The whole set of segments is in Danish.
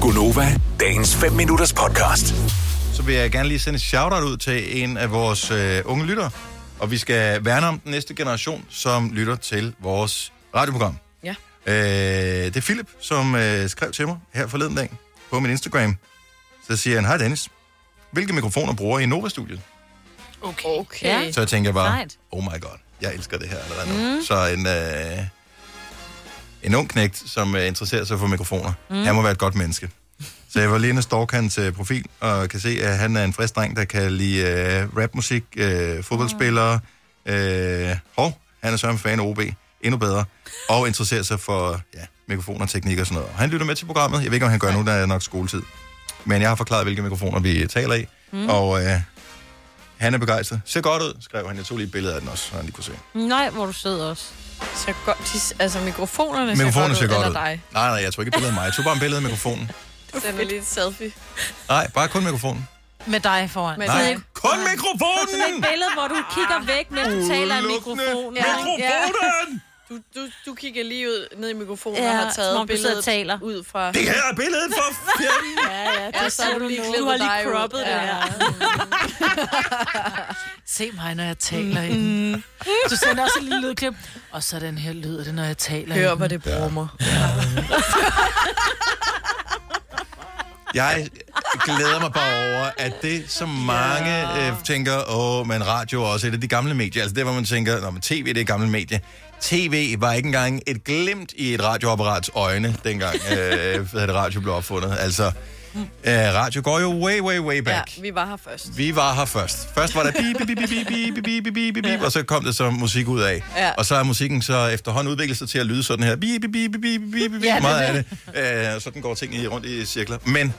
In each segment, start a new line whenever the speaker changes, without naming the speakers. Gunova, dagens 5 minutters podcast.
så vil jeg gerne lige sende et shout-out ud til en af vores øh, unge lyttere. Og vi skal værne om den næste generation, som lytter til vores radioprogram.
Ja.
Øh, det er Philip, som øh, skrev til mig her forleden dag på min Instagram. Så siger han, hej Dennis, hvilke mikrofoner bruger I i Nova-studiet?
Okay. okay.
Ja.
Så jeg tænker bare,
Sejt.
oh my god, jeg elsker det her allerede nu. Mm. Så en, øh, en ung knægt, som øh, interesserer sig for mikrofoner, mm. han må være et godt menneske. Så jeg var lige inde og stalk hans øh, profil, og kan se, at han er en frisk dreng, der kan lide øh, rapmusik, øh, fodboldspillere. Øh, hov, han er sørme fan af OB. Endnu bedre. Og interesserer sig for ja, mikrofoner, teknik og sådan noget. Og han lytter med til programmet. Jeg ved ikke, om han gør nu, der er nok skoletid. Men jeg har forklaret, hvilke mikrofoner vi taler i. Mm. Og øh, han er begejstret. Ser godt ud, skrev han. Jeg tog lige et billede af den også, så han lige kunne se.
Nej, hvor er du sød også.
Så godt, de, altså mikrofonerne,
Mikrofonen
ser
ser
godt
godt
ud,
ud.
eller
Nej,
dig.
nej, jeg tog ikke et billede af mig. Jeg tog bare et billede af mikrofonen.
Sender lige et selfie.
Nej, bare kun mikrofonen.
Med dig foran.
Med
Nej,
dig.
kun mikrofonen!
Billedet, hvor du kigger
Ah,
væk, mens du taler i
Udelukkende
mikrofonen.
Mikrofonen!
Du, du, du kigger lige ud ned i mikrofonen ja,
Ja,
og har
som
taget
om du sidder
billedet
og taler.
ud fra...
Det her er billedet for fjenden!
ja, ja, så har du lige
Du har
klippet dig
lige
ud.
croppet det
Ja.
her.
Se mig, når jeg taler i den. Du sender også en lille lydklip. Og så den her lyder det, når jeg taler i
Hør,
den.
hvor det brummer.
Jeg glæder mig bare over, at det, som mange ja. øh, tænker, åh, men radio er også et af de gamle medier, altså det, hvor man tænker, nå, men tv, det er et gammelt medie. TV var ikke engang et glimt i et radioapparats øjne, dengang øh, hvad hedder det, radio blev opfundet. Altså, øh, radio går jo way, way, way
Ja,
back.
vi var her først.
Vi var her først. Først var der bip, bip, bip, bip, bip, bip, bip, bip, bip, bip, bip, og så kom der så musik ud af.
Ja.
Og så er musikken så efterhånden udviklet sig til at lyde sådan her. Bip, bip, bip, bip, bip, bip, bip,
Ja,
ja,
det
meget af det. Øh, og sådan går tingene i- rundt i cirkler. Men,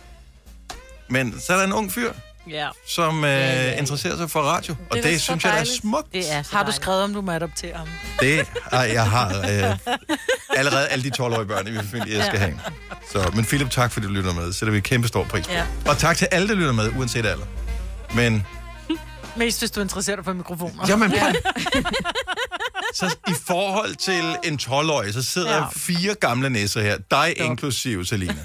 men så er der en ung fyr,
Ja,
som øh, interesserer sig for radio. Og
er
det,
da
det
så
synes jeg er
dejligt.
smukt.
det er så
Har du
dejligt.
skrevet, om du må adoptere ham?
Det har jeg har øh, allerede alle de 12-årige børn i min familie, jeg skal have. Så, men Philip, tak fordi du lytter med. Sætter vi kæmpe stor pris på.
Ja.
Og tak til alle, der lytter med, uanset alder. Men
Mest hvis du interesserer dig for mikrofoner.
Jamen, prøv. så i forhold til en 12-årig, så sidder ja.
Ja.
fire gamle nisser her. Dig inklusive, Selina.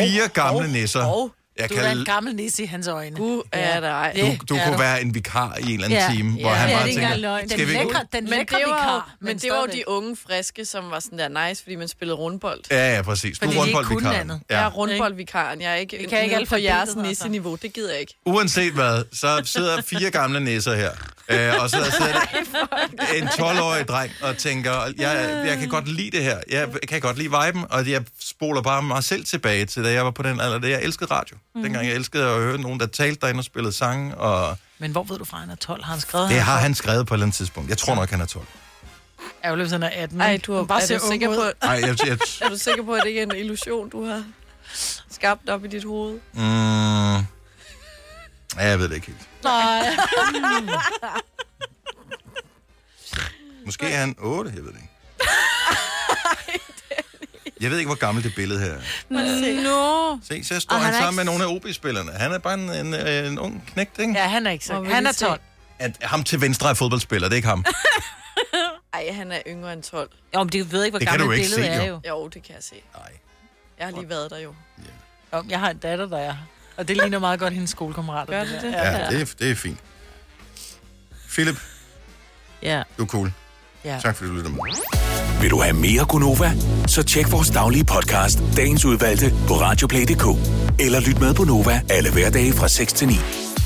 Fire gamle nisser.
hov.
Jeg
Du
kan,
er en
du,
gammel nisse i hans øjne.
Du er dig.
du
er
kunne
du.
være en vikar i en eller anden
Ja.
time,
Ja.
hvor han
Ja,
bare
det er ikke
engang
tænker,
løgn.
skal vi ikke ud?
den
Men det, var, jo, men det var jo
stadigvæk.
de unge friske, som var sådan der nice, fordi man spillede rundbold.
Ja, ja, præcis. Du
Fordi
er
de ikke
rundboldvikaren.
kunne andet.
Jeg
Ja.
er rundboldvikaren. Jeg er ikke,
kan ikke
nede på
alfabetet,
jeres
altså.
nisse-niveau. Det gider jeg ikke.
Uanset hvad, så sidder fire gamle nisser her. Øh, og så sidder der en 12-årig dreng og tænker, jeg, jeg kan godt lide det her. Jeg kan godt lide viben, og jeg spoler bare mig selv tilbage til, da jeg var på den alder, da jeg elskede radio.
Mhm.
Mm. Dengang jeg elskede at høre nogen, der talte derinde og spillede sange, og
Men hvor ved du fra, han er 12? Har han skrevet?
det har han skrevet på et eller andet tidspunkt. Jeg tror nok, han er 12.
Ærgerligt, hvis han er 18.
Ej,
ikke?
du er,
Han
bare er,
ser
du
ung
sikker
ud.
på,
Ej, jeg, jeg,
er du sikker på, at det ikke er en illusion, du har skabt op i dit hoved?
mm, ja, jeg ved det ikke helt.
Nej.
Måske er han 8, jeg ved det ikke. Jeg ved ikke, hvor gammelt det billede her er.
Nå.
Se, så står
Og
han,
han er
sammen
ikke-
med nogle af OB-spillerne. Han er bare en, en, øh, en ung knægt, ikke? Ja.
Ja, han er ikke
Hvor
så.
vil
Han
vi
er
se?
12.
At ham til venstre er fodboldspiller, det er ikke ham.
Ej, han er yngre end 12.
Jo, men det ved ikke, hvor
Det kan
gammelt
du ikke
billedet
se,
er
jo.
jo.
Jo, det kan jeg se.
Nej.
Jeg har lige været der jo.
Jo, Jeg har en datter, der er her. Og det ligner meget godt hendes skolekammerater.
Gør
der.
det det?
Ja.
Ja, det er, det er fint. Philip,
Ja.
du er cool.
Ja.
Tak fordi du lytter med.
Vil du have mere Gunova? Så tjek vores daglige podcast, dagens udvalgte, på radioplay.dk. Eller lyt med på Nova alle hverdage fra 6 til 9.